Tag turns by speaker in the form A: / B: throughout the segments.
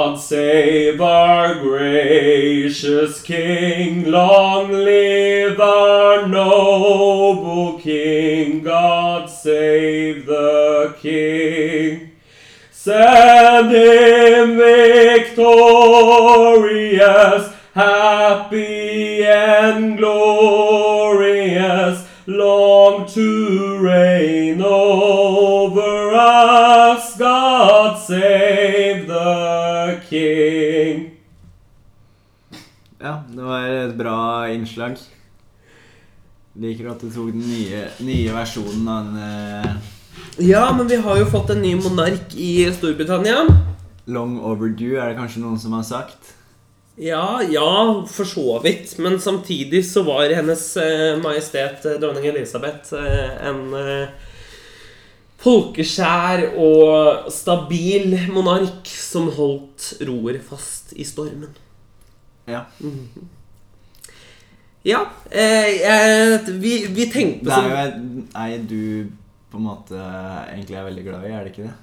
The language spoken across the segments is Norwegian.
A: God save our gracious King. Long live our noble King. God save the King. Send him victorious, happy and glorious, long to reign over us. God save the king.
B: Ja, det var et bra innslag. Liker at du tok den nye, nye versjonen av den eh,
A: Ja, men vi har jo fått en ny monark i Storbritannia.
B: Long Overdue, er det kanskje noen som har sagt?
A: Ja, ja, for så vidt. Men samtidig så var Hennes eh, Majestet eh, dronning Elisabeth eh, en eh, folkeskjær og stabil monark som holdt roer fast i stormen.
B: Ja.
A: Ja, eh, jeg, vi, vi tenkte sånn-
B: Det er
A: som
B: jo et- ei du på en måte egentlig er veldig glad i, er det ikke det?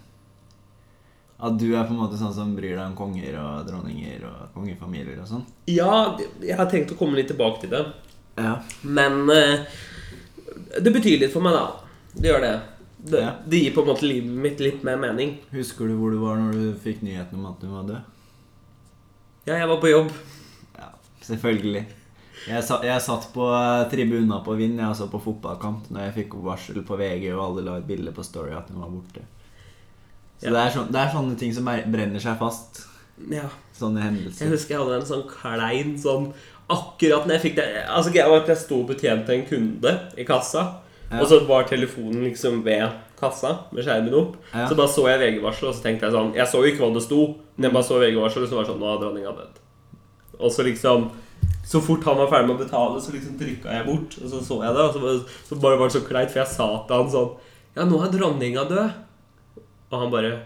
B: At du er på en måte sånn som bryr deg om konger og dronninger og kongefamilier og sånn?
A: Ja, jeg har tenkt å komme litt tilbake til det.
B: Ja.
A: Men eh, det betyr litt for meg, da. Det gjør det. Det,
B: Ja.
A: det gir på en måte livet mitt litt mer mening.
B: Husker du hvor du var når du fikk nyheten om at hun var død?
A: Ja, jeg var på jobb.
B: Ja, selvfølgelig. Jeg, sa, jeg satt på eh, tribuna på Vind, jeg så på fotballkamp, når jeg fikk varsel på VG, og alle la et bilde på Story at hun var borte. Så
A: Ja.
B: det, er sånn- det er sånne ting som er- brenner seg fast.
A: Ja.
B: Sånne
A: Jeg
B: hendelser.
A: husker jeg hadde en sånn klein sånn Akkurat når jeg fikk det Altså greia var at jeg sto og betjente en kunde i kassa.
B: Ja.
A: Og så var telefonen liksom ved kassa med skjermen opp.
B: Ja.
A: Så bare så jeg VG-varselet, og så tenkte jeg sånn Jeg så jo ikke hva det sto, men jeg bare så VG-varselet, og så var det sånn Nå har dronninga dødd. Og så liksom Så fort han var ferdig med å betale, så liksom trykka jeg bort, og så så jeg det. Og så bare, så bare var det så kleint, for jeg sa til han sånn Ja, nå er dronninga død. Og han bare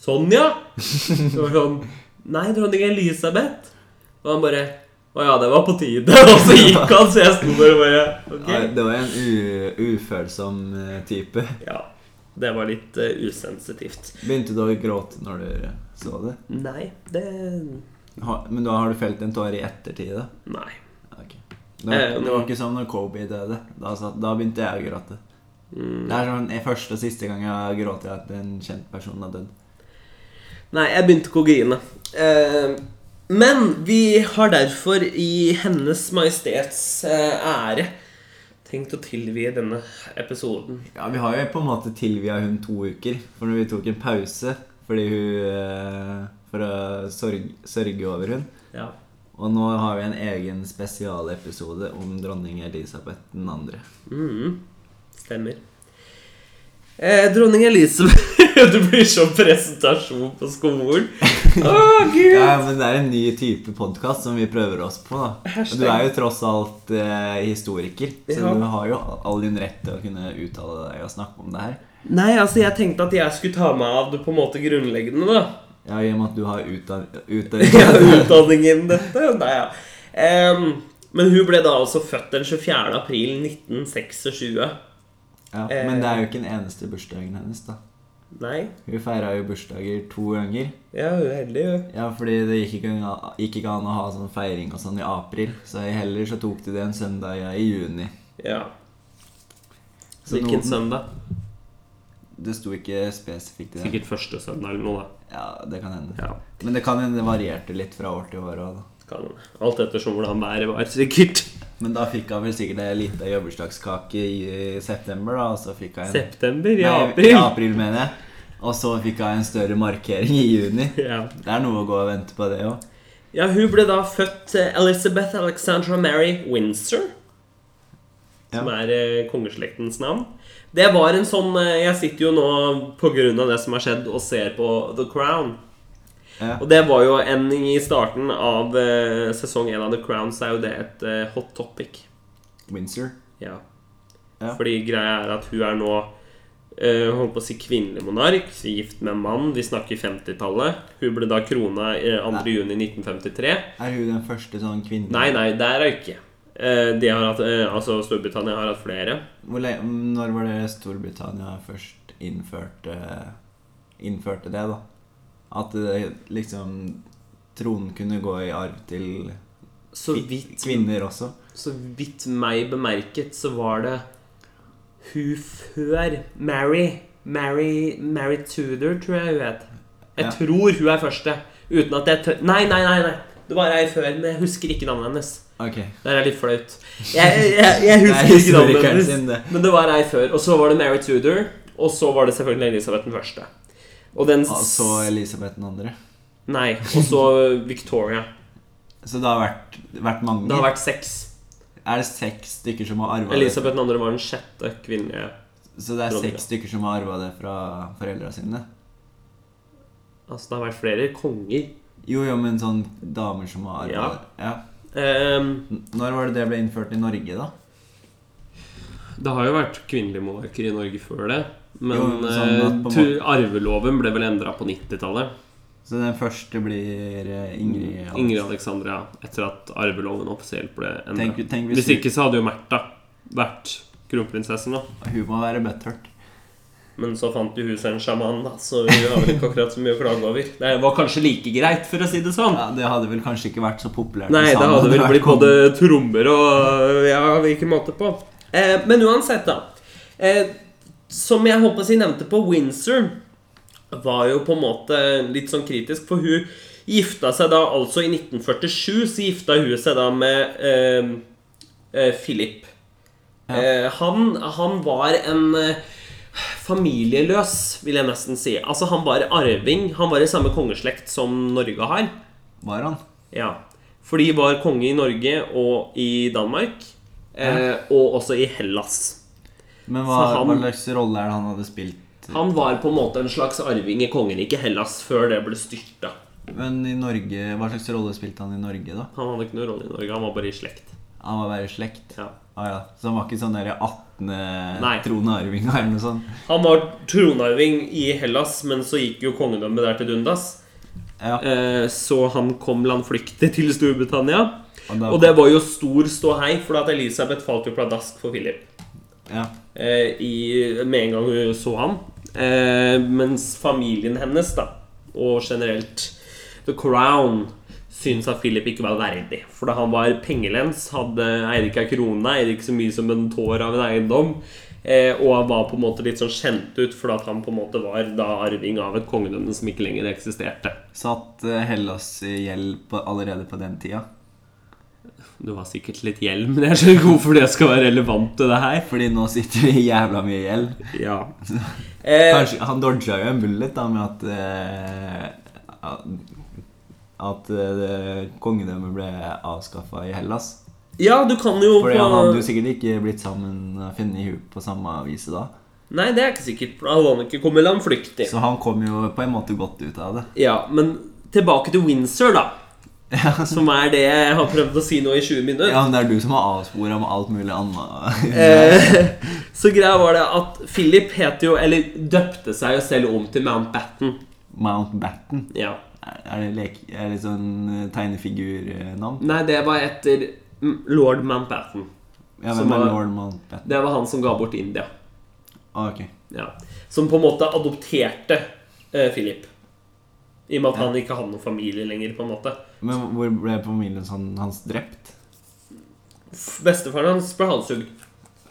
A: Sånn, ja! Det var sånn Nei, dronning Elisabeth. Og han bare Å ja, det var på tide. Og så gikk han, så jeg sto der og bare
B: Ja,
A: Ok.
B: Det var en u, ufølsom eh, type.
A: Ja. Det var litt eh, usensitivt.
B: Begynte du å gråte når du eh, så det?
A: Nei, det
B: Ha- Men da har du felt en tåre i ettertid, da?
A: Nei.
B: Ja, ok. Det var,
A: Eh,
B: det var ikke som når Kobe døde. Da, satt, da begynte jeg å gråte.
A: Mm.
B: Det er sånn eh, første og siste gang jeg har grått at en kjent person har dødd.
A: Nei, jeg begynte ikke å grine. Eh, men vi har derfor i Hennes Majestets eh, ære tenkt å tilvie denne episoden.
B: Ja, Vi har jo på en måte tilvia hun to uker, for når vi tok en pause fordi hun eh, For å sørge, sørge over hun.
A: Ja.
B: Og nå har vi en egen spesialepisode om dronning Elisabeth den andre.
A: Mhm. Stemmer. Eh, dronning Elisabeth Du blir som presentasjon på skolen. Å, gud!
B: Ja, men det er en ny type podkast som vi prøver oss på, da. Og
A: Hashtag.
B: Du er jo tross alt eh, historiker, så
A: Ja.
B: du har jo all din rett til å kunne uttale deg og snakke om det her.
A: Nei, altså, jeg tenkte at jeg skulle ta meg av det på en måte grunnleggende, da.
B: Ja, I og med at du har utdan-
A: Jeg har
B: utdannet
A: utdanning innen dette. Nei, ja. Em, men hun ble da altså født den 24. april 1926.
B: ja, Men det er jo ikke den eneste bursdagen hennes, da.
A: Nei?
B: Hun feira jo bursdager to ganger.
A: Ja, hun er heldig, hun.
B: Ja, fordi det gikk ikke, an- gikk ikke an å ha sånn feiring og sånn i april, så heller så tok de det en søndag ja, i juni.
A: Ja.
B: Så
A: Hvilken
B: noen-
A: søndag?
B: Det sto ikke spesifikt i det.
A: Sikkert første søndag eller noe, da.
B: Ja, det kan hende.
A: Ja.
B: Men det kan hende det varierte litt fra år til år òg, da.
A: Kan, alt ettersom hvordan været var, sikkert.
B: Men da fikk han vel sikkert ei lita jubileumskake i september, da, og så fikk han
A: September? I
B: Nei,
A: april?
B: I april, mener jeg. Og så fikk hun en større markering i juni.
A: Ja.
B: Det er noe å gå og vente på, det òg.
A: Ja, hun ble da født eh, Elizabeth Alexandra Mary Windsor.
B: Ja.
A: Som er eh, kongeslektens navn. Det var en sånn eh, Jeg sitter jo nå pga. det som har skjedd, og ser på The Crown.
B: Ja.
A: Og det var jo en i starten av eh, sesong én av The Crown, så er jo det et eh, hot topic.
B: Windsor.
A: Ja.
B: Ja.
A: Fordi greia er at hun er nå eh, holdt på å si kvinnelig monark, gift med en mann. Vi snakker 50-tallet. Hun ble da krona eh, 2. juni 1953.
B: Er hun den første sånn kvinnen
A: Nei, nei, der er det ikke. Eh, De har hatt, eh, altså Storbritannia har hatt flere.
B: Hvor le- Når var det Storbritannia først innførte Innførte det, da? At det liksom tronen kunne gå i arv til
A: Så
B: kvi-
A: vidt,
B: kvinner også.
A: så vidt meg bemerket, så var det hun før Mary Mary, Mary Tudor, tror jeg hun het. Jeg
B: Ja.
A: tror hun er første. Uten at jeg tør Nei, nei, nei! nei. Det var ei før, men jeg husker ikke navnet hennes.
B: Ok.
A: Det er litt flaut. Jeg, jeg, jeg husker ikke navnet
B: historikeren
A: hennes.
B: sin, det.
A: Men det var ei før. Og så var det Mary Tudor. Og så var det selvfølgelig Elisabeth den første. Og den s-
B: Og så Elisabeth den andre.
A: Nei. Og så Victoria.
B: Så det har vært, vært mange.
A: Det har vært seks.
B: Er det seks stykker som har arva det?
A: Elisabeth den andre var den sjette kvinnelige
B: Så det er
A: Dronninga.
B: seks stykker som har arva det fra foreldra sine?
A: Altså, det har vært flere konger.
B: Jo, jo, men sånn damer som har arva
A: Ja.
B: det ja.
A: Ehm,
B: N- Når var det det ble innført i Norge, da?
A: det har jo vært kvinnelige monarker i Norge før det. Men
B: Jo, men sånn at
A: eh,
B: på en
A: tu- arveloven ble vel endra på 90-tallet.
B: Så den første blir eh, Ingrid. Alexandra.
A: Mm, Ingrid Alexandria. Etter at arveloven offisielt ble
B: Tenk,
A: endra.
B: tenk hvis,
A: Hvis ikke så hadde jo Märtha vært kronprinsessen, da.
B: hun må være butthurt.
A: Men så fant jo hun seg en sjaman, da, så hun har vel ikke akkurat så mye å klage over. Det var kanskje like greit, for å si det sånn.
B: Ja, det hadde vel kanskje ikke vært så populært.
A: Nei,
B: i
A: det
B: Sandra,
A: hadde vel
B: vært
A: blitt
B: kong-
A: både trommer og Ja, hvilken måte på. Eh, men uansett, da. Eh, som jeg håper jeg nevnte på Windsor, var jo på en måte litt sånn kritisk, for hun gifta seg da altså i 1947 så gifta hun seg da med eh, eh, Philip.
B: Ja.
A: Eh, han, han var en eh, familieløs, vil jeg nesten si. Altså, han var arving. Han var i samme kongeslekt som Norge har.
B: Var han?
A: Ja. For de var konge i Norge og i Danmark. Eh, og også i Hellas.
B: Men hva,
A: Så han-
B: hva slags rolle er det han hadde spilt?
A: Han var på en måte en slags arving i kongeriket Hellas før det ble styrta.
B: Men i Norge, hva slags rolle spilte han i Norge, da?
A: Han hadde ikke noen rolle i Norge, han var bare i slekt.
B: Han var bare i slekt?
A: Ja.
B: Ah, ja. Så han var ikke sånn der 18.
A: Nei.
B: tronarving eller noe sånt?
A: Han var tronarving i Hellas, men så gikk jo kongedømmet der til dundas.
B: Ja,
A: Eh, så han kom landflyktig til Storbritannia.
B: og da,
A: Og det var jo stor ståhei, for at Elisabeth falt jo pladask for Philip.
B: ja.
A: eh, i, med en gang hun så ham. Eh, mens familien hennes, da, og generelt The Crown, syntes at Philip ikke var verdig. For da han var pengelens, hadde eide ikke ei krone, eide ikke så mye som en tår av en eiendom. Eh, og han var på en måte litt sånn kjent ut fordi at han på en måte var da arving av et kongedømme som ikke lenger eksisterte.
B: Satt eh, Hellas i gjeld på, allerede på den tida?
A: Du har sikkert litt gjeld, men jeg skjønner ikke hvorfor det skal være relevant til det her.
B: Fordi nå sitter vi i jævla mye gjeld.
A: Ja. Eh,
B: Kanskje, han dodga jo en bullet da med at eh, At eh, kongedømmet ble avskaffa i Hellas.
A: ja, du kan jo
B: Fordi
A: på-
B: han hadde jo sikkert ikke blitt sammen funnet i huet på samme avise da.
A: Nei, det er ikke sikkert. for Da hadde han ikke kommet landflyktig.
B: Så han kom jo på en måte godt ut av det.
A: Ja, men tilbake til Windsor, da.
B: Ja,
A: Som er det jeg har prøvd å si nå i 20 minutter.
B: ja, men Det er du som har avspora med alt mulig annet.
A: Eh, så greia var det at Philip het jo Eller døpte seg jo selv om til Mountbatten.
B: Mountbatten.
A: Ja.
B: Er er det, lek, er det sånn tegnefigurnavn?
A: Nei, det var etter mm, lord Mountbatten.
B: Ja,
A: Som
B: hvem er
A: var-
B: lord Mountbatten?
A: Det var han som ga bort India.
B: Ah, ok.
A: Ja. Som på en måte adopterte eh, Philip. I og med at han ikke hadde noen familie lenger. på en måte
B: Men hvor ble familien sånn, hans drept?
A: F- Bestefaren hans ble halshugd.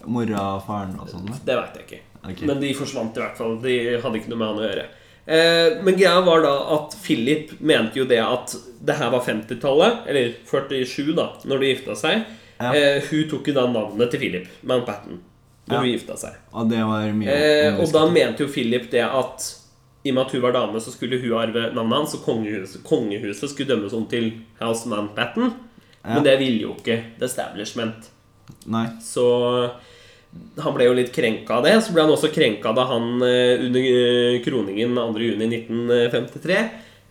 B: Mora og faren og sånn? da?
A: Det veit jeg ikke.
B: Ok.
A: Men de forsvant i hvert fall. De hadde ikke noe med han å gjøre. Eh, men greia var da at Philip mente jo det at det her var 50-tallet, eller 47, da, når de gifta seg.
B: Ja.
A: Eh, hun tok jo da navnet til Philip, Mountbatten, når
B: Ja.
A: hun gifta seg.
B: Og det var mye
A: Eh, og da mente jo Philip det at i og med at hun var dame, så skulle hun arve navnet hans, og kongehuset, kongehuset skulle dømmes om til House Mountbatten.
B: Ja.
A: Men det ville jo ikke The Establishment.
B: Nei.
A: Så han ble jo litt krenka av det. Så ble han også krenka da han eh, under eh, kroningen 2.6.1953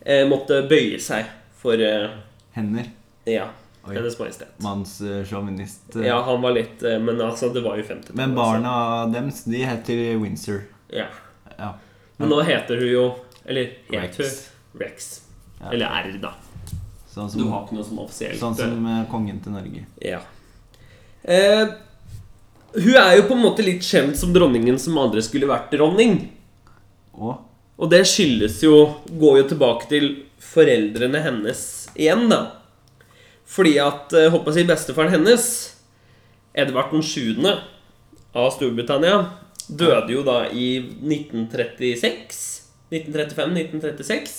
A: eh, måtte bøye seg for eh,
B: Hender.
A: ja,
B: Oi.
A: Hennes Majestet.
B: Mannssjåvinist.
A: Ja, han var litt eh, Men altså, det var jo 50
B: Men barna dems, de heter Windsor.
A: altså. Ja.
B: Ja.
A: Men nå heter hun jo Eller het hun
B: Rex.
A: Rex.
B: Ja.
A: Eller R, da.
B: Sånn
A: Du
B: som,
A: har ikke noe sånn offisielt
B: sånn
A: eh,
B: som eh, kongen til Norge.
A: Ja. Eh, hun er jo på en måte litt kjent som dronningen som aldri skulle vært dronning.
B: Og
A: Og det skyldes jo Går jo tilbake til foreldrene hennes igjen, da. Fordi at eh, håper jeg å si bestefaren hennes, Edvard 7. av Storbritannia, døde jo da i 1936. 1935-1936.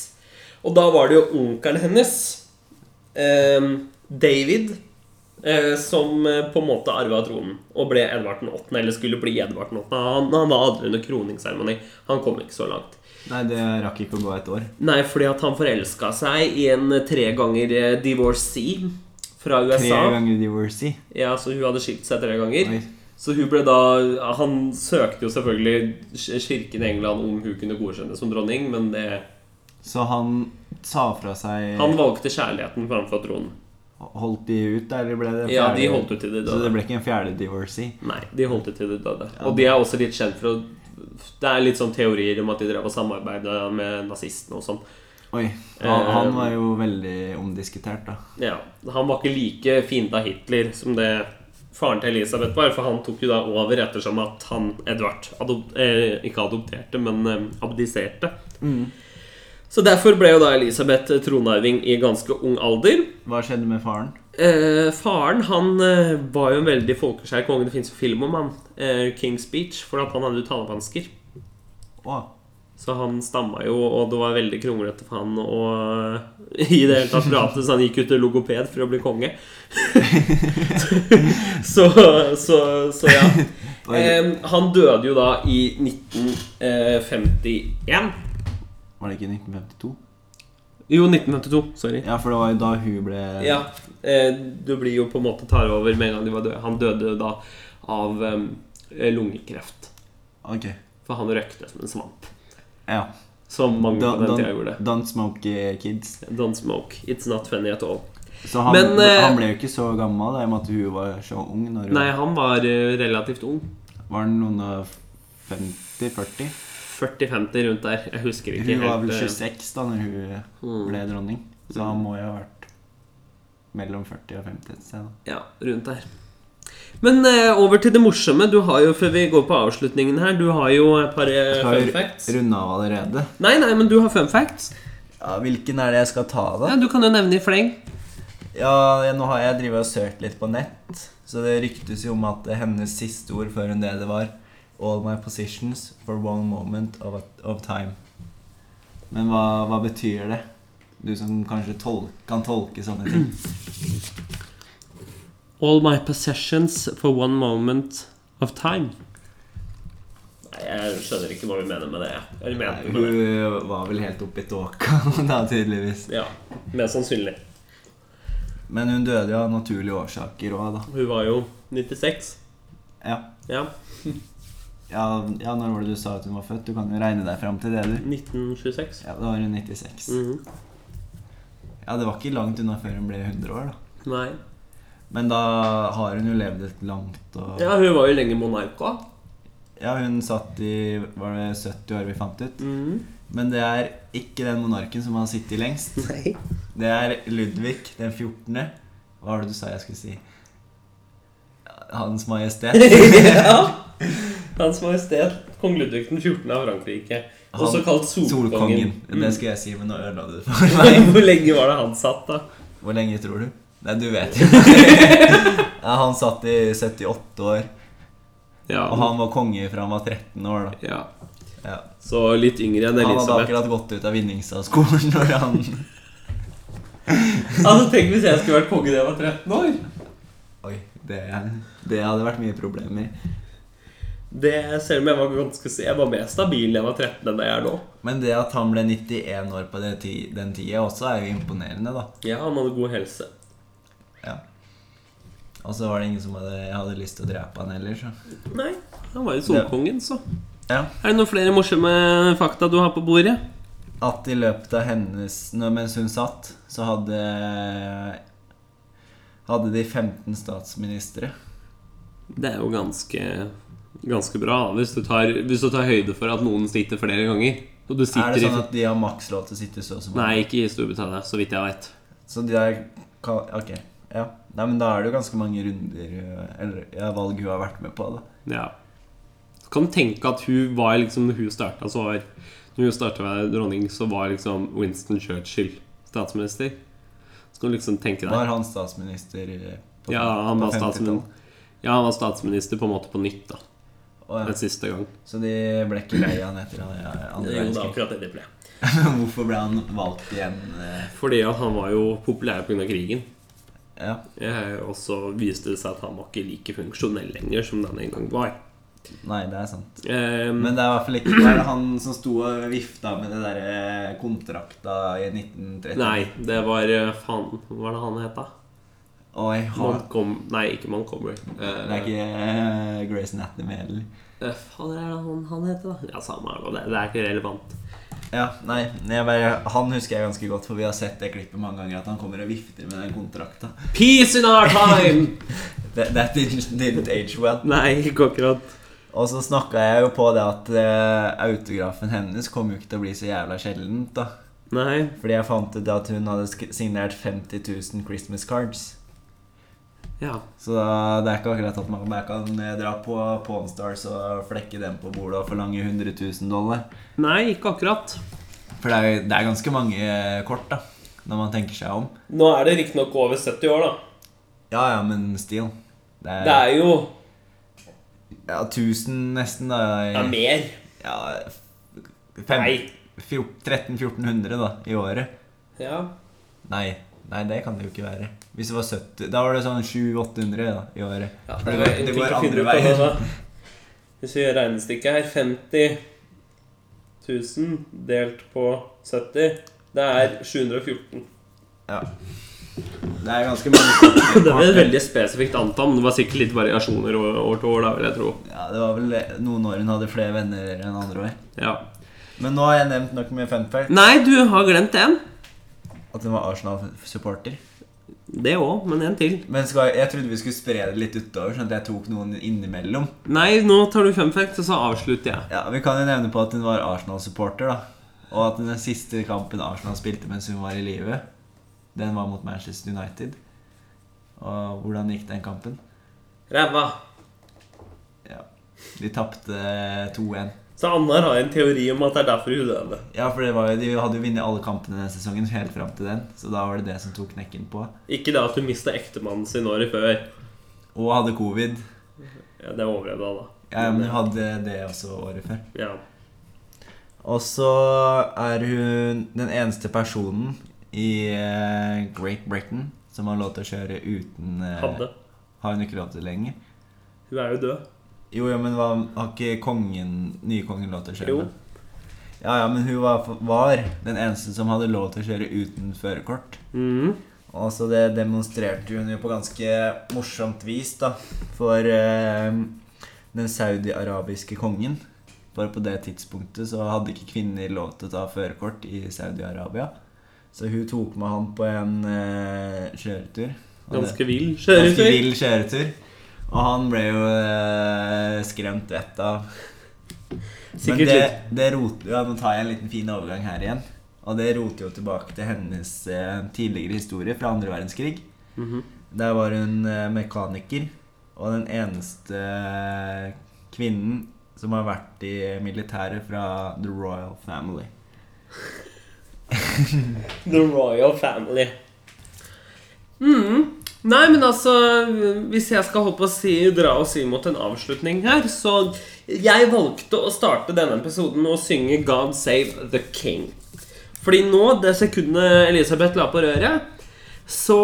A: Og da var det jo onkelen hennes, eh, David, eh, som eh, på en måte arva tronen og ble Edvard 8., eller skulle bli Edvard 8. Han, han var aldri under kroningsseremoni. Han kom ikke så langt.
B: Nei, det rakk ikke å gå et år.
A: Nei, fordi at han forelska seg i en tre ganger eh, divorcee fra
B: Tre
A: USA.
B: ganger divorcee.
A: Ja, så hun hadde skilt seg tre ganger.
B: Oi.
A: Så hun ble da Han søkte jo selvfølgelig ki- kirken i England om hun kunne godkjennes som dronning, men det
B: Så han sa fra seg
A: Han valgte kjærligheten framfor tronen.
B: Holdt de ut, da, eller ble det
A: Ja, de
B: fjerde-
A: holdt ut til de
B: Så det
A: døde.
B: ble ikke en fjerde divorcee?
A: Nei, de holdt ut til de døde. Og de er også litt kjent for å Det er litt sånn teorier om at de drev og samarbeida med nazistene og sånn.
B: Oi. Han, han
A: Eh,
B: var jo veldig omdiskutert, da.
A: Ja, Han var ikke like fiende av Hitler som det faren til Elisabeth var, for han tok jo da over ettersom at han, Edvard, adop eh, ikke adopterte, men eh, abdiserte. Så derfor ble jo da Elisabeth tronarving i ganske ung alder.
B: Hva skjedde med faren?
A: Eh, faren han eh, var jo en veldig folkeskjær konge. Det fins jo film om han. Eh, King's Speech. For at han hadde jo talevansker.
B: Å,
A: Så han stamma jo, og det var veldig kronglete for han å i det hele tatt prate, så han gikk ut til logoped for å bli konge. så, så, så ja.
B: Oi.
A: Em, han døde jo da i eh, 1951.
B: var det ikke 1952?
A: Jo, 1952. Sorry.
B: Ja, for det var jo da hun ble
A: Ja. eh, Du blir jo på en måte tar over med en gang de var døde. Han døde da av em, lungekreft.
B: Ok.
A: For han røykte som en svamp.
B: Ja.
A: Som mange
B: Don-
A: på den
B: don-
A: tida gjorde.
B: Don't smoke kids.
A: Don't smoke. It's not funny at all.
B: Så han,
A: Men, eh,
B: han ble jo ikke så gammel, da, i og med at hun var så ung. Når hun,
A: Nei, han var eh, relativt ung.
B: Var han noen og 50-40?
A: 40-50 rundt der. Jeg husker ikke
B: Hun var vel
A: eh,
B: 26 da når hun
A: Mm.
B: ble dronning, så han må jo ha vært mellom 40 og 50 et sted. da.
A: Ja, rundt der. Men eh, over til det morsomme. Du har jo, Før vi går på avslutningen her, du har jo et par eh,
B: Skal
A: fun
B: vi
A: facts.
B: runde av allerede?
A: Nei, nei, men du har fun facts.
B: Ja, Hvilken er det jeg skal ta, da?
A: Ja, du kan jo nevne i fleng.
B: Ja, jeg- Nå har jeg drivet og søkt litt på nett, så det ryktes jo om at hennes siste ord før hun døde, var All my positions for one moment of, of time. Men hva, hva betyr det? Du som kanskje tol kan tolke sånne ting.
A: All my possessions for one moment of time. Nei, Jeg skjønner ikke hva vi mener med det. jeg. Eller
B: Nei,
A: mener med det.
B: hun var vel helt oppi tåka da, tydeligvis.
A: Ja, Mest sannsynlig.
B: Men hun døde jo av naturlige årsaker òg, da.
A: Hun var jo 96.
B: Ja.
A: Ja.
B: Ja, ja, når var det du sa at hun var født? Du kan jo regne deg fram til det, du.
A: 1926.
B: Ja, Da var hun 96.
A: Mhm.
B: Ja, Det var ikke langt unna før hun ble 100 år, da.
A: Nei.
B: Men da har hun jo levd et langt og
A: Ja, hun var jo lenge monark òg.
B: Ja, hun satt i Var det 70 år vi fant ut?
A: Mhm.
B: Men det er ikke den monarken som har sittet lengst.
A: Nei.
B: Det er Ludvig den 14. Hva var det du sa jeg skulle si? Hans Majestet.
A: ja. Hans Majestet Kong Ludvig den 14. av Frankrike. Også
B: Han-
A: kalt Solkongen.
B: Det skulle jeg si, men nå ødela du det for meg.
A: Mm. Hvor lenge var det han satt, da?
B: Hvor lenge tror du? Nei, du vet jo. Ja, han satt i 78 år,
A: Ja,
B: og han var konge fra han var 13 år. da
A: ja.
B: ja.
A: Så litt yngre enn
B: Han hadde
A: Elisabeth.
B: akkurat gått ut av Vinningsa-skolen når han
A: Altså, Tenk hvis jeg skulle vært konge da jeg var 13 år!
B: Oi, det, det hadde vært mye problemer.
A: Det, selv om jeg var ganske Jeg var mer stabil da jeg var 13 enn det jeg er nå.
B: Men det at han ble 91 år på det ti, den tida også, er jo imponerende, da.
A: Ja, han hadde god helse.
B: Ja. Og så var det ingen som hadde, hadde lyst til å drepe han heller, så
A: Nei, han var jo Solkongen, så.
B: Ja.
A: Er det noen flere morsomme fakta du har på bordet?
B: At i løpet av hennes nå, Mens hun satt, så hadde Hadde de 15 statsministre.
A: Det er jo ganske, ganske bra da, hvis du, tar, hvis du tar høyde for at noen sitter flere ganger. Og du sitter
B: Er det sånn
A: i,
B: at de har maks lov til å sitte så og så mange?
A: Nei, ikke i Storbritannia, så vidt jeg veit.
B: Så de er ka- Ok. Ja. Nei, men da er det jo ganske mange runder øh, Eller ja, valg hun har vært med på, da.
A: Ja. Så kan du tenke at hun var liksom Hun starta, så var Når hun starta å være dronning, så var liksom Winston Churchill statsminister. Så kan du liksom tenke deg
B: Var han statsminister eh, på,
A: Ja, han
B: på
A: var
B: 50-tallet?
A: statsminister. Ja, han var statsminister på en måte på nytt, da.
B: Å,
A: Den
B: ja.
A: siste gang.
B: Så de ble ikke lei han etter han- ja, andre verdenskrig.
A: akkurat det det ble.
B: Men hvorfor ble han valgt igjen? eh?
A: Fordi at han var jo populær pga. krigen.
B: Ja,
A: Eh, Og så viste det seg at han var ikke like funksjonell lenger som den en gang var.
B: Nei, det er sant.
A: Eh,
B: Men det er i hvert fall ikke det er han som sto og vifta med det derre kontrakta i 1930.
A: Nei, det var eh, faen Hva var det han het, da?
B: Oi, han,
A: Montcom... Nei, ikke Montgomery.
B: det er ikke uh, Grace Anatomy heller.
A: Eh, faen, hva er det han, han heter, da? Ja, samme er det, det. Det er ikke relevant.
B: Ja, nei, jeg bare, Han husker jeg ganske godt, for vi har sett det klippet mange ganger. At han kommer og vifter med den kontrakta.
A: Peace in our time!
B: That, that didn't, didn't age well.
A: Nei, ikke akkurat.
B: Og så snakka jeg jo på det at eh, autografen hennes kom jo ikke til å bli så jævla sjeldent, da.
A: Nei.
B: Fordi jeg fant ut at hun hadde sk- signert 50 000 Christmas cards.
A: Ja.
B: Så da, det er ikke akkurat at man jeg kan eh, dra på Pawn Stars og flekke dem på bordet og forlange 100 000 dollar.
A: Nei, ikke akkurat.
B: For det er, det er ganske mange eh, kort, da, når man tenker seg om.
A: Nå er det riktignok over 70 år, da.
B: Ja ja, men still. Det er,
A: Det er jo
B: ja, 1000 nesten, da.
A: Det er
B: I,
A: mer.
B: ja, fem-
A: Nei.
B: fjor- 1300-1400 da, i året.
A: Ja.
B: Nei, nei, det kan det jo ikke være. Hvis det var 70 Da var det sånn 700-800 da, i året.
A: Ja,
B: For det går-
A: egentlig
B: det går
A: ikke å finne
B: andre
A: ut av det,
B: veier.
A: da. Hvis vi gjør regnestykket her 50 000 delt på 70, det er 714.
B: Ja. Det er ganske mange
A: Det var et veldig spesifikt antall, men det var sikkert litt variasjoner over år til år. da, vil jeg tro.
B: Ja, det var vel noen år hun hadde flere venner enn andre år.
A: Ja.
B: Men nå har jeg nevnt nok med fun fact
A: Nei, du har glemt en.
B: at hun var Arsenal-supporter.
A: Det òg, men en til.
B: Men skal, jeg trodde vi skulle spre det litt utover, sånn at jeg tok noen innimellom.
A: Nei, nå tar du fun fact, og så avslutter jeg.
B: Ja, Vi kan jo nevne på at hun var Arsenal-supporter, da. Og at den siste kampen Arsenal spilte mens hun var i live, den var mot Manchester United. Og hvordan gikk den kampen?
A: Ræva.
B: Ja, De tapte eh, 2-1.
A: Så Annar har en teori om at det er derfor hun døde.
B: Ja, for det var jo, de hadde jo vunnet alle kampene den sesongen helt fram til den, så da var det det som tok knekken på.
A: Ikke det at hun mista ektemannen sin året før.
B: Og hadde covid.
A: Ja, det overlevde han, da.
B: Ja, men hun hadde det også året før.
A: Ja.
B: Og så er hun den eneste personen i eh, Great Britain som har lov til å kjøre uten eh,
A: Hadde.
B: Har hun ikke lov til det lenger?
A: Hun er jo død.
B: Jo, ja, men hva, har ikke kongen, nykongen lov til å kjøre?
A: Jo.
B: med? Ja, ja, men hun var, var den eneste som hadde lov til å kjøre uten førerkort.
A: Mhm.
B: Og så Altså, det demonstrerte hun jo på ganske morsomt vis, da. For eh, den saudi-arabiske kongen. Bare på det tidspunktet så hadde ikke kvinner lov til å ta førerkort i Saudi-Arabia. Så hun tok med han på en eh, kjøretur. Og det-
A: Ganske vill
B: ganske
A: kjøretur.
B: vill kjøretur. Og han ble jo eh, skremt vettet av. Men
A: Sikkert
B: det,
A: litt.
B: det roter jo ja, Nå tar jeg en liten fin overgang her igjen. Og det roter jo tilbake til hennes eh, tidligere historie fra andre verdenskrig.
A: Mhm.
B: Der var hun eh, mekaniker, og den eneste eh, kvinnen som har vært i militæret fra The Royal Family.
A: The Royal Family. Mhm. Nei, men altså Hvis jeg skal holde på å si, dra oss imot en avslutning her, så Jeg valgte å starte denne episoden med å synge God Save The King. Fordi nå, det sekundet Elisabeth la på røret, så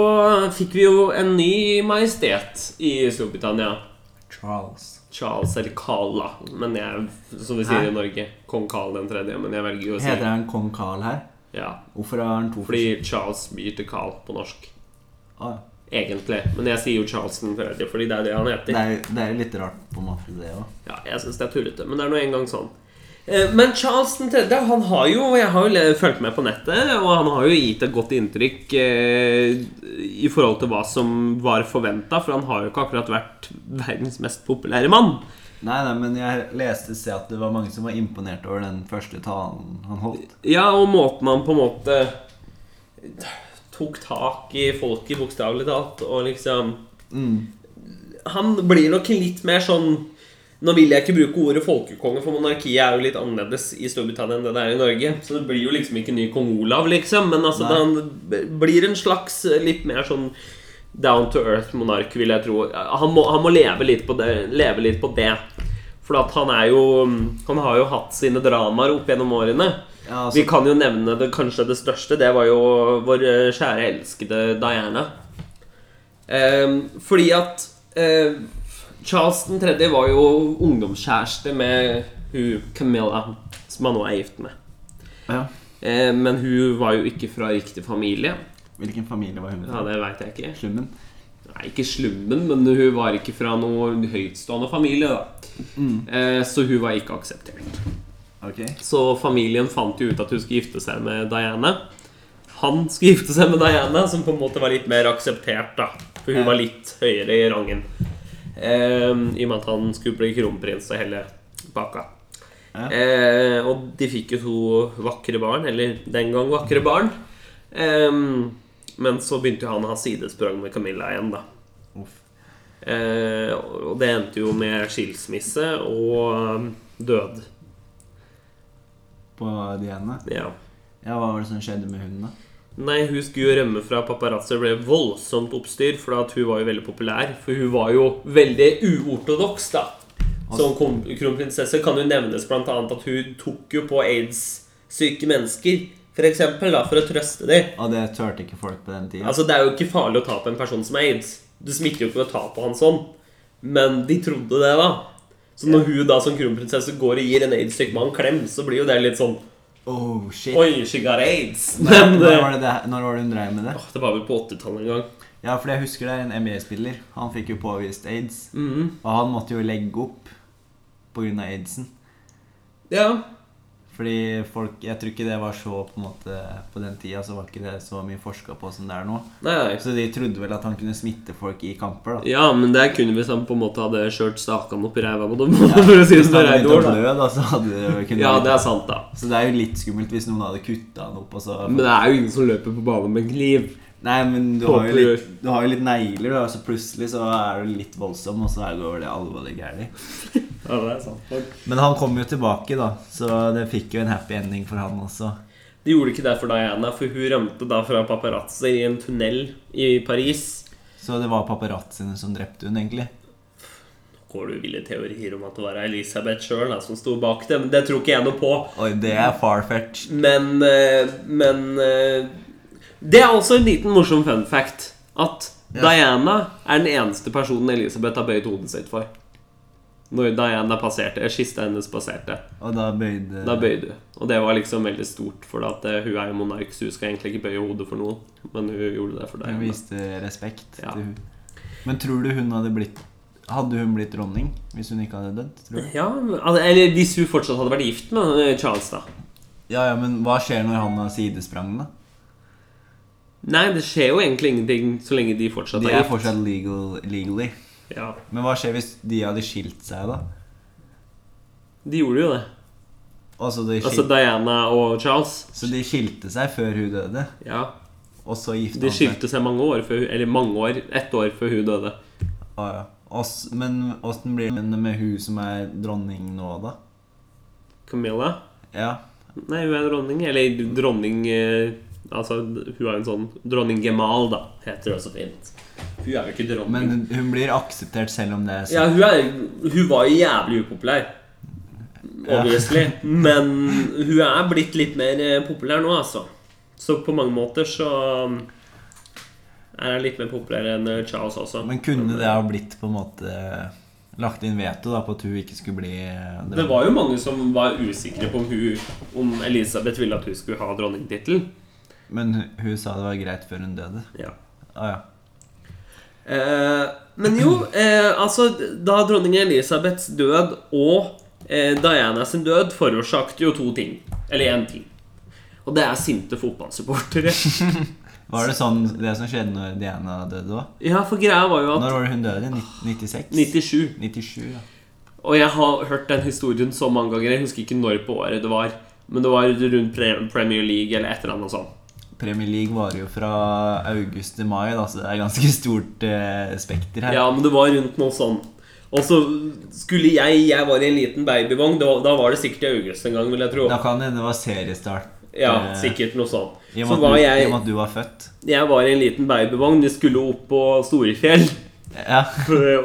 A: fikk vi jo en ny majestet i Storbritannia.
B: Charles.
A: Charles eller Carl, da. Men jeg, som vi sier
B: Hæ?
A: i Norge, kong Carl den tredje. Men jeg velger jo å si
B: Heter han kong Carl her?
A: Ja,
B: Hvorfor har han to
A: Fordi Charles blir til Carl på norsk.
B: Ah,
A: Egentlig. Men jeg sier jo Charles den tredje, fordi det er det han
B: det
A: heter.
B: er det er jo litt rart, på en måte, det òg.
A: Ja, jeg synes det er tullete, men det er nå engang sånn. Eh, Men Charles den tredje, han har jo Jeg har jo le- fulgt med på nettet, og han har jo gitt et godt inntrykk eh, i forhold til hva som var forventa, for han har jo ikke akkurat vært verdens mest populære mann.
B: Nei, nei, men jeg leste se at det var mange som var imponert over den første talen han holdt.
A: Ja, og måten han på en måte tok tak i folket, bokstavelig talt, og liksom
B: Mm.
A: Han blir nok en litt mer sånn Nå vil jeg ikke bruke ordet folkekonge, for monarkiet er jo litt annerledes i Storbritannia enn det det er i Norge. Så det blir jo liksom ikke ny kong Olav, liksom. Men altså,
B: Nei.
A: han b- blir en slags eh, litt mer sånn down to earth-monark, vil jeg tro. Han må, han må leve, litt på det, leve litt på det. For at han er jo Han har jo hatt sine dramaer opp gjennom årene.
B: Ja,
A: Vi
B: altså,
A: kan jo nevne det, kanskje det største. Det var jo vår eh, kjære elskede Diana. Ehm, fordi at eh, Charles 3. var jo ungdomskjæreste med hun Camilla, som han nå er gift med.
B: ja.
A: Eh, men hun var jo ikke fra riktig familie.
B: Hvilken familie var hun
A: Ja,
B: fra?
A: Det veit jeg ikke.
B: Slummen?
A: Nei, ikke slummen, men hun var ikke fra noen høytstående familie. da
B: Mm.
A: Eh, Så hun var ikke akseptert.
B: Ok.
A: Så familien fant jo ut at hun skulle gifte seg med Diana. Han skulle gifte seg med Diana, som på en måte var litt mer akseptert, da. For hun
B: Ja.
A: var litt høyere i rangen. Ehm, I og med at han skulle bli kronprins og hele pakka.
B: Ja.
A: Eh, og de fikk jo to vakre barn, eller den gang vakre barn. Ehm, men så begynte jo han å ha sidesprang med Camilla igjen, da.
B: Uff.
A: Eh, og det endte jo med skilsmisse og eh, død.
B: På Diana?
A: Ja.
B: Ja, hva var det som skjedde med hunden, da?
A: Nei, hun skulle jo rømme fra paparazzo. Det ble voldsomt oppstyr, for at hun var jo veldig populær. For hun var jo veldig uortodoks, da.
B: Altså-
A: Som kon- kronprinsesse kan jo nevnes blant annet at hun tok jo på aids-syke mennesker, for eksempel, da, for å trøste dem.
B: Og Ah, det turte ikke folk på den tida?
A: Altså, det er jo ikke farlig å ta på en person som har aids. Du smitter jo ikke ved å ta på han sånn. Men de trodde det, da. Så når hun da som kronprinsesse går og gir en aids-syk mann klem, så blir jo det litt sånn
B: Oh, shit.
A: Oi, she got aids.
B: Når,
A: Men
B: når,
A: eh,
B: var det det, når var det hun dreiv med det?
A: åh, det var vel på 80-tallet en gang.
B: Ja, for jeg husker det er en NBA-spiller. Han fikk jo påvist aids.
A: Mhm.
B: Og han måtte jo legge opp pga. aidsen.
A: Ja.
B: Fordi folk Jeg tror ikke det var så på en måte På den tida så var ikke det så mye forska på som det er nå.
A: Nei, nei.
B: Så de trodde vel at han kunne smitte folk i kamper, da.
A: Ja, men det kunne hvis han på en måte hadde kjørt stakan opp i ræva på dem. for å si det
B: Hvis
A: med
B: han
A: rene
B: begynte å
A: ord, da.
B: blø, da, så hadde det jo kunnet
A: Ja, det er sant, da.
B: Så det er jo litt skummelt hvis noen hadde kutta han opp, og så
A: Men det er jo ingen som løper på banen med kniv.
B: Nei, men du har
A: Håper
B: jo
A: du-
B: litt, du har jo litt negler, da, så plutselig så er du litt voldsom, og så er- går det alvorlig gærent.
A: Ja, det er sant.
B: Men han kom jo tilbake, da, så det fikk jo en happy ending for han også.
A: De gjorde ikke det for Diana, for hun rømte da fra paparazzi i en tunnel i Paris.
B: Så det var paparazziene som drepte hun, egentlig.
A: Går du ville teorier om at det var Elisabeth sjøl som sto bak det? Men det tror ikke jeg noe på.
B: Oi, det er far-fetched.
A: Men eh, Men eh, Det er også en liten morsom fun fact. At
B: Ja.
A: Diana er den eneste personen Elisabeth har bøyd hodet sitt for. Når Diana passerte, eh, kista hennes passerte.
B: Og da bøyde
A: Da bøyde hun. Og det var liksom veldig stort, for at eh, hun er jo monark, så hun skal egentlig ikke bøye hodet for noen. Men hun gjorde det for
B: Hun
A: Diana.
B: viste respekt
A: Ja.
B: til hun. Men tror du hun hadde blitt Hadde hun blitt dronning hvis hun ikke hadde dødd? Tror du?
A: Ja, al- eller hvis hun fortsatt hadde vært gift med eh, Charles, da.
B: Ja, ja, men hva skjer når han har sidesprang, da?
A: Nei, det skjer jo egentlig ingenting så lenge de fortsatt
B: De
A: er
B: er
A: gift.
B: fortsatt legal, legally.
A: Ja,
B: Men hva skjer hvis de hadde skilt seg, da?
A: De gjorde jo det.
B: Altså, de, skil,
A: Altså Diana og Charles.
B: så de skilte seg før hun døde,
A: Ja
B: og så gifta
A: De
B: han seg.
A: skilte seg mange år før, eller mange år, ett år før hun døde.
B: Ah, ja. Oss, men åssen blir det med hun som er dronning nå, da?
A: Camilla?
B: Ja,
A: Nei, hun er dronning. Eller dronning eh, Altså, hun er en sånn dronning Gemal, da, heter det så fint. Hun er jo ikke dronning.
B: Men hun- hun blir akseptert selv om det er sånn.
A: ja,
B: sant.
A: hun, er, hun var jo jævlig upopulær. Obviously. Men hun er blitt litt mer eh, populær nå, altså. Så på mange måter så um, er hun litt mer populær enn eh, Charles også.
B: Men kunne det ha blitt på en måte lagt inn veto da på at hun ikke skulle bli eh,
A: Det
B: dronning?
A: var jo mange som var usikre på om, hun, om Elisabeth ville at hun skulle ha dronningtittelen.
B: Men hun, hun sa det var greit før hun døde.
A: Ja.
B: Ah, ja.
A: Eh, men jo, eh, altså Da dronning Elisabeths død og eh, Diana sin død forårsaket jo to ting. Eller én ting. Og det er sinte fotballsupportere.
B: Var det sånn det som skjedde når Diana døde òg?
A: Ja, for greia var jo at
B: Når var det hun døde? Ni- 96?
A: 97.
B: 97, ja.
A: Og jeg har hørt den historien så mange ganger. Jeg husker ikke når på året det var. Men det var rundt Pre- Premier League eller et eller annet sånn. sånt.
B: Premier League varer jo fra august til mai, da, så det er ganske stort eh, spekter her.
A: Ja, men det var rundt noe sånn Og så skulle jeg Jeg var i en liten babyvogn. Da, da var det sikkert i august en gang, vil jeg tro.
B: Da kan det hende det var seriestart.
A: Ja,
B: eh,
A: sikkert noe sånt.
B: I og
A: Så
B: med
A: var
B: at du-
A: jeg-
B: i og med at du var født.
A: Jeg var i en liten babyvogn. Vi skulle opp på Storefjell.
B: Ja.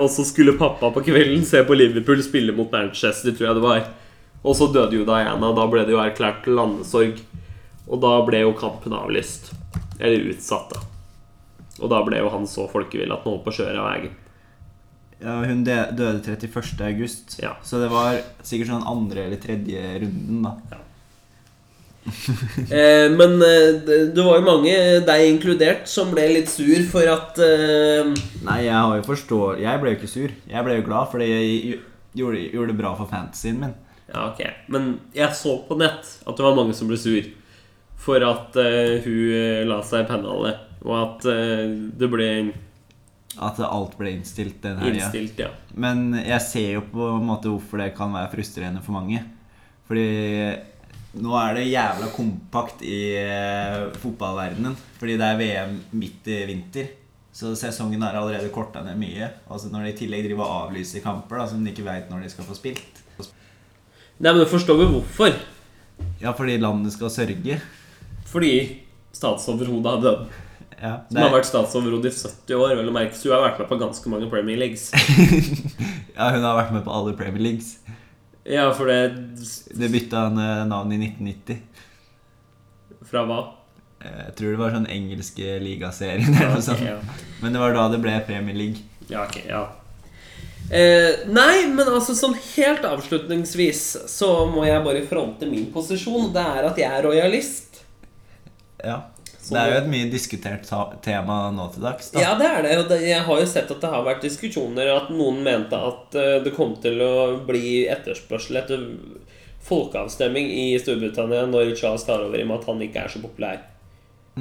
A: Og så skulle pappa på kvelden se på Liverpool spille mot Manchester, tror jeg det var. Og så døde jo Diana. Da ble det jo erklært landesorg. Og da ble jo kampen avlyst. Eller utsatt, da. Og da ble jo han så folkevill at han holdt på å kjøre av veien.
B: Ja, hun de- døde 31. august,
A: Ja.
B: så det var sikkert sånn andre eller tredje runden, da.
A: Eh, men eh, det det var jo mange, eh, deg inkludert, som ble litt sur for at eh,
B: Nei, jeg har jo forstår... Jeg ble jo ikke sur. Jeg ble jo glad, fordi jeg gj- gjorde, gjorde det bra for fantasyen min.
A: Ja, ok. Men jeg så på nett at det var mange som ble sur for at eh, hun eh, la seg i pennalet, og at eh, det ble
B: At alt ble innstilt den helga.
A: innstilt, ja.
B: Men jeg ser jo på en måte hvorfor det kan være frustrerende for mange. Fordi nå er det jævla kompakt i eh, fotballverdenen. Fordi det er VM midt i vinter. Så sesongen er allerede korta ned mye. Og så når de i tillegg driver og avlyser kamper da, som de ikke veit når de skal få spilt.
A: Nei, men du forstår jo hvorfor.
B: Ja, fordi landet skal sørge.
A: Fordi statsoverhodet har dødd.
B: Ja,
A: Som har vært statsoverhode i 70 år. Vel å merke, så hun har vært med på ganske mange Premier Leagues.
B: ja, hun har vært med på alle Premier Leagues.
A: Ja, for det
B: Det bytta han eh, navn i 1990.
A: Fra hva?
B: Eh, Jeg tror det var sånn engelske ligaserien eller noe sånt.
A: Ja,
B: Men det var da det ble Premier League.
A: Ja, ok, ja. Eh, nei, men altså sånn helt avslutningsvis så må jeg bare fronte min posisjon. Det er at jeg er rojalist.
B: Ja.
A: Så
B: Det er jo
A: det-
B: et mye diskutert ta- tema nå til dags. da.
A: Ja, det er det. Og det- jeg har jo sett at det har vært diskusjoner at noen mente at eh, det kom til å bli etterspørsel etter folkeavstemning i Storbritannia når Charles tar over, i og med at han ikke er så populær.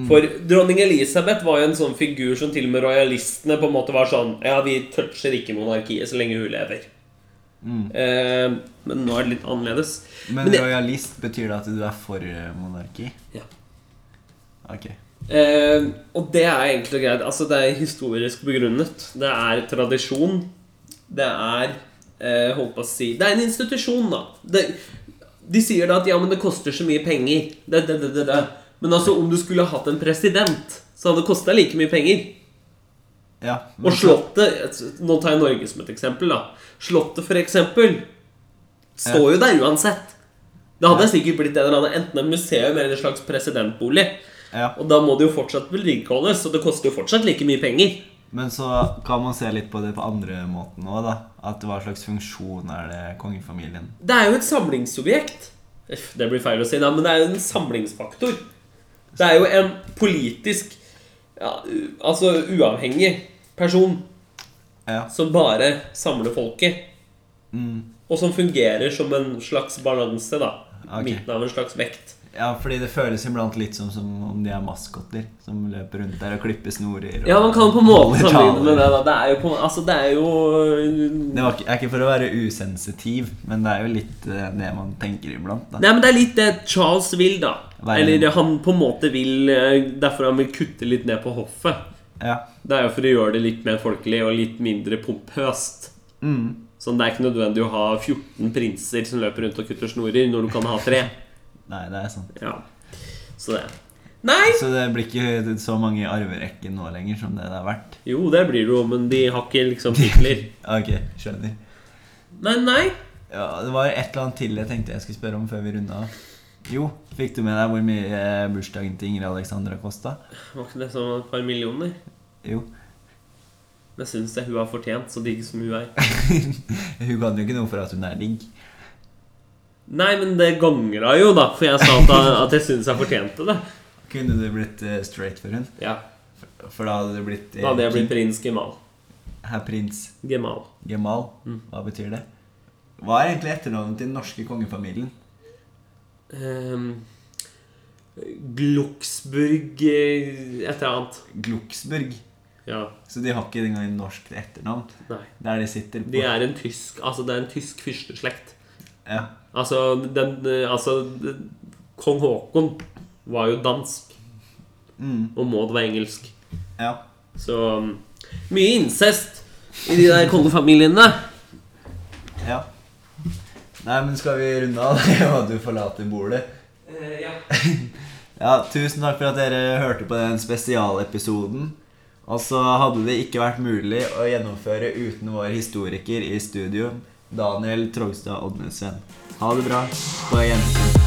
A: For dronning Elisabeth var jo en sånn figur som til og med rojalistene på en måte var sånn Ja, vi toucher ikke monarkiet så lenge hun lever. Eh, men nå er det litt annerledes.
B: Men
A: Men det-
B: rojalist betyr det at du er for eh, monarki?
A: Ja.
B: Ok.
A: Eh, og det er egentlig greit. Altså, det er historisk begrunnet. Det er tradisjon. Det er eh, Holdt på å si Det er en institusjon, da. Det, de sier da at ja, men det koster så mye penger. Det, det, det, det, det. Men altså, om du skulle hatt en president, så hadde det kosta like mye penger.
B: Ja, men-
A: Og Slottet Nå tar jeg Norge som et eksempel, da. Slottet, for eksempel, står jo der uansett. Det hadde sikkert blitt en eller annen, enten et museum eller en slags presidentbolig.
B: ja.
A: Og da må det jo fortsatt vedlikeholdes, og det koster jo fortsatt like mye penger.
B: Men så kan man se litt på det på andre måten òg, da. At hva slags funksjon er det kongefamilien
A: Det er jo et samlingsobjekt. Uff, Det blir feil å si, da, men det er jo en samlingsfaktor. Det er jo en politisk ja, u- Altså uavhengig person
B: Ja.
A: som bare samler folket.
B: Mm.
A: Og som fungerer som en slags balanse, da.
B: Ok.
A: Midten av en slags vekt.
B: Ja, fordi det føles iblant litt som, som om de er maskotter som løper rundt der og klipper snorer. Og
A: Ja, man kan på en måte
B: holder
A: sammenligne med
B: taler.
A: det, da. Det er jo, på, altså, det er jo
B: Det var ikke, er ikke for å være usensitiv, men det er jo litt eh, det man tenker iblant. da.
A: Nei, men det er litt det Charles vil, da.
B: Hva er det?
A: Eller han på en måte vil eh, Derfor han vil kutte litt ned på hoffet.
B: Ja.
A: Det er jo for å gjøre det litt mer folkelig og litt mindre pompøst.
B: Mm.
A: Sånn, Det er ikke nødvendig å ha 14 prinser som løper rundt og kutter snorer, når du kan ha tre.
B: Nei, det er sant.
A: Ja. Så det. Nei!
B: Så det blir ikke så mange i arverekken nå lenger som det det har vært?
A: Jo, det blir det jo, men de har ikke liksom titler.
B: Ok, skjønner.
A: Nei, nei.
B: Ja, Det var et eller annet til jeg tenkte jeg skulle spørre om før vi runda av. Jo, fikk du med deg hvor mye eh, bursdagen til Ingrid Alexandra kosta?
A: Var ikke det som et par millioner?
B: Jo.
A: Men jeg syns det hun har fortjent, så digg som hun er.
B: hun kan jo ikke noe for at hun er digg.
A: Nei, men det gangra jo, da, for jeg sa at, at jeg syns jeg fortjente det.
B: Kunne det blitt eh, straight for hun?
A: Ja,
B: For da hadde det blitt eh,
A: Da hadde jeg blitt
B: King-
A: prins Gemal.
B: Herr prins
A: Gemal.
B: Gemal.
A: Mm.
B: Hva betyr det? Hva er egentlig etternavnet til den norske kongefamilien?
A: Ehm, Glucksburg eh, Et eller annet.
B: Glucksburg.
A: Ja.
B: Så de har ikke engang norsk etternavn.
A: Nei.
B: Der de sitter på
A: De er en tysk Altså, det er en tysk fyrsteslekt.
B: ja.
A: Altså, den eh, Altså, den- kong Haakon var jo dansk. Og Maud var engelsk.
B: Mm,
A: mm,
B: ja.
A: Så um, mye incest i de der kongefamiliene.
B: Ja. Nei, men skal vi runde av det, og du forlater bordet?
A: ja.
B: Ja, tusen takk for at dere hørte på den spesialepisoden. Altså hadde det ikke vært mulig å gjennomføre uten vår historiker i studio, Daniel Trogstad Oddnesen. Ha det bra. På gjensyn.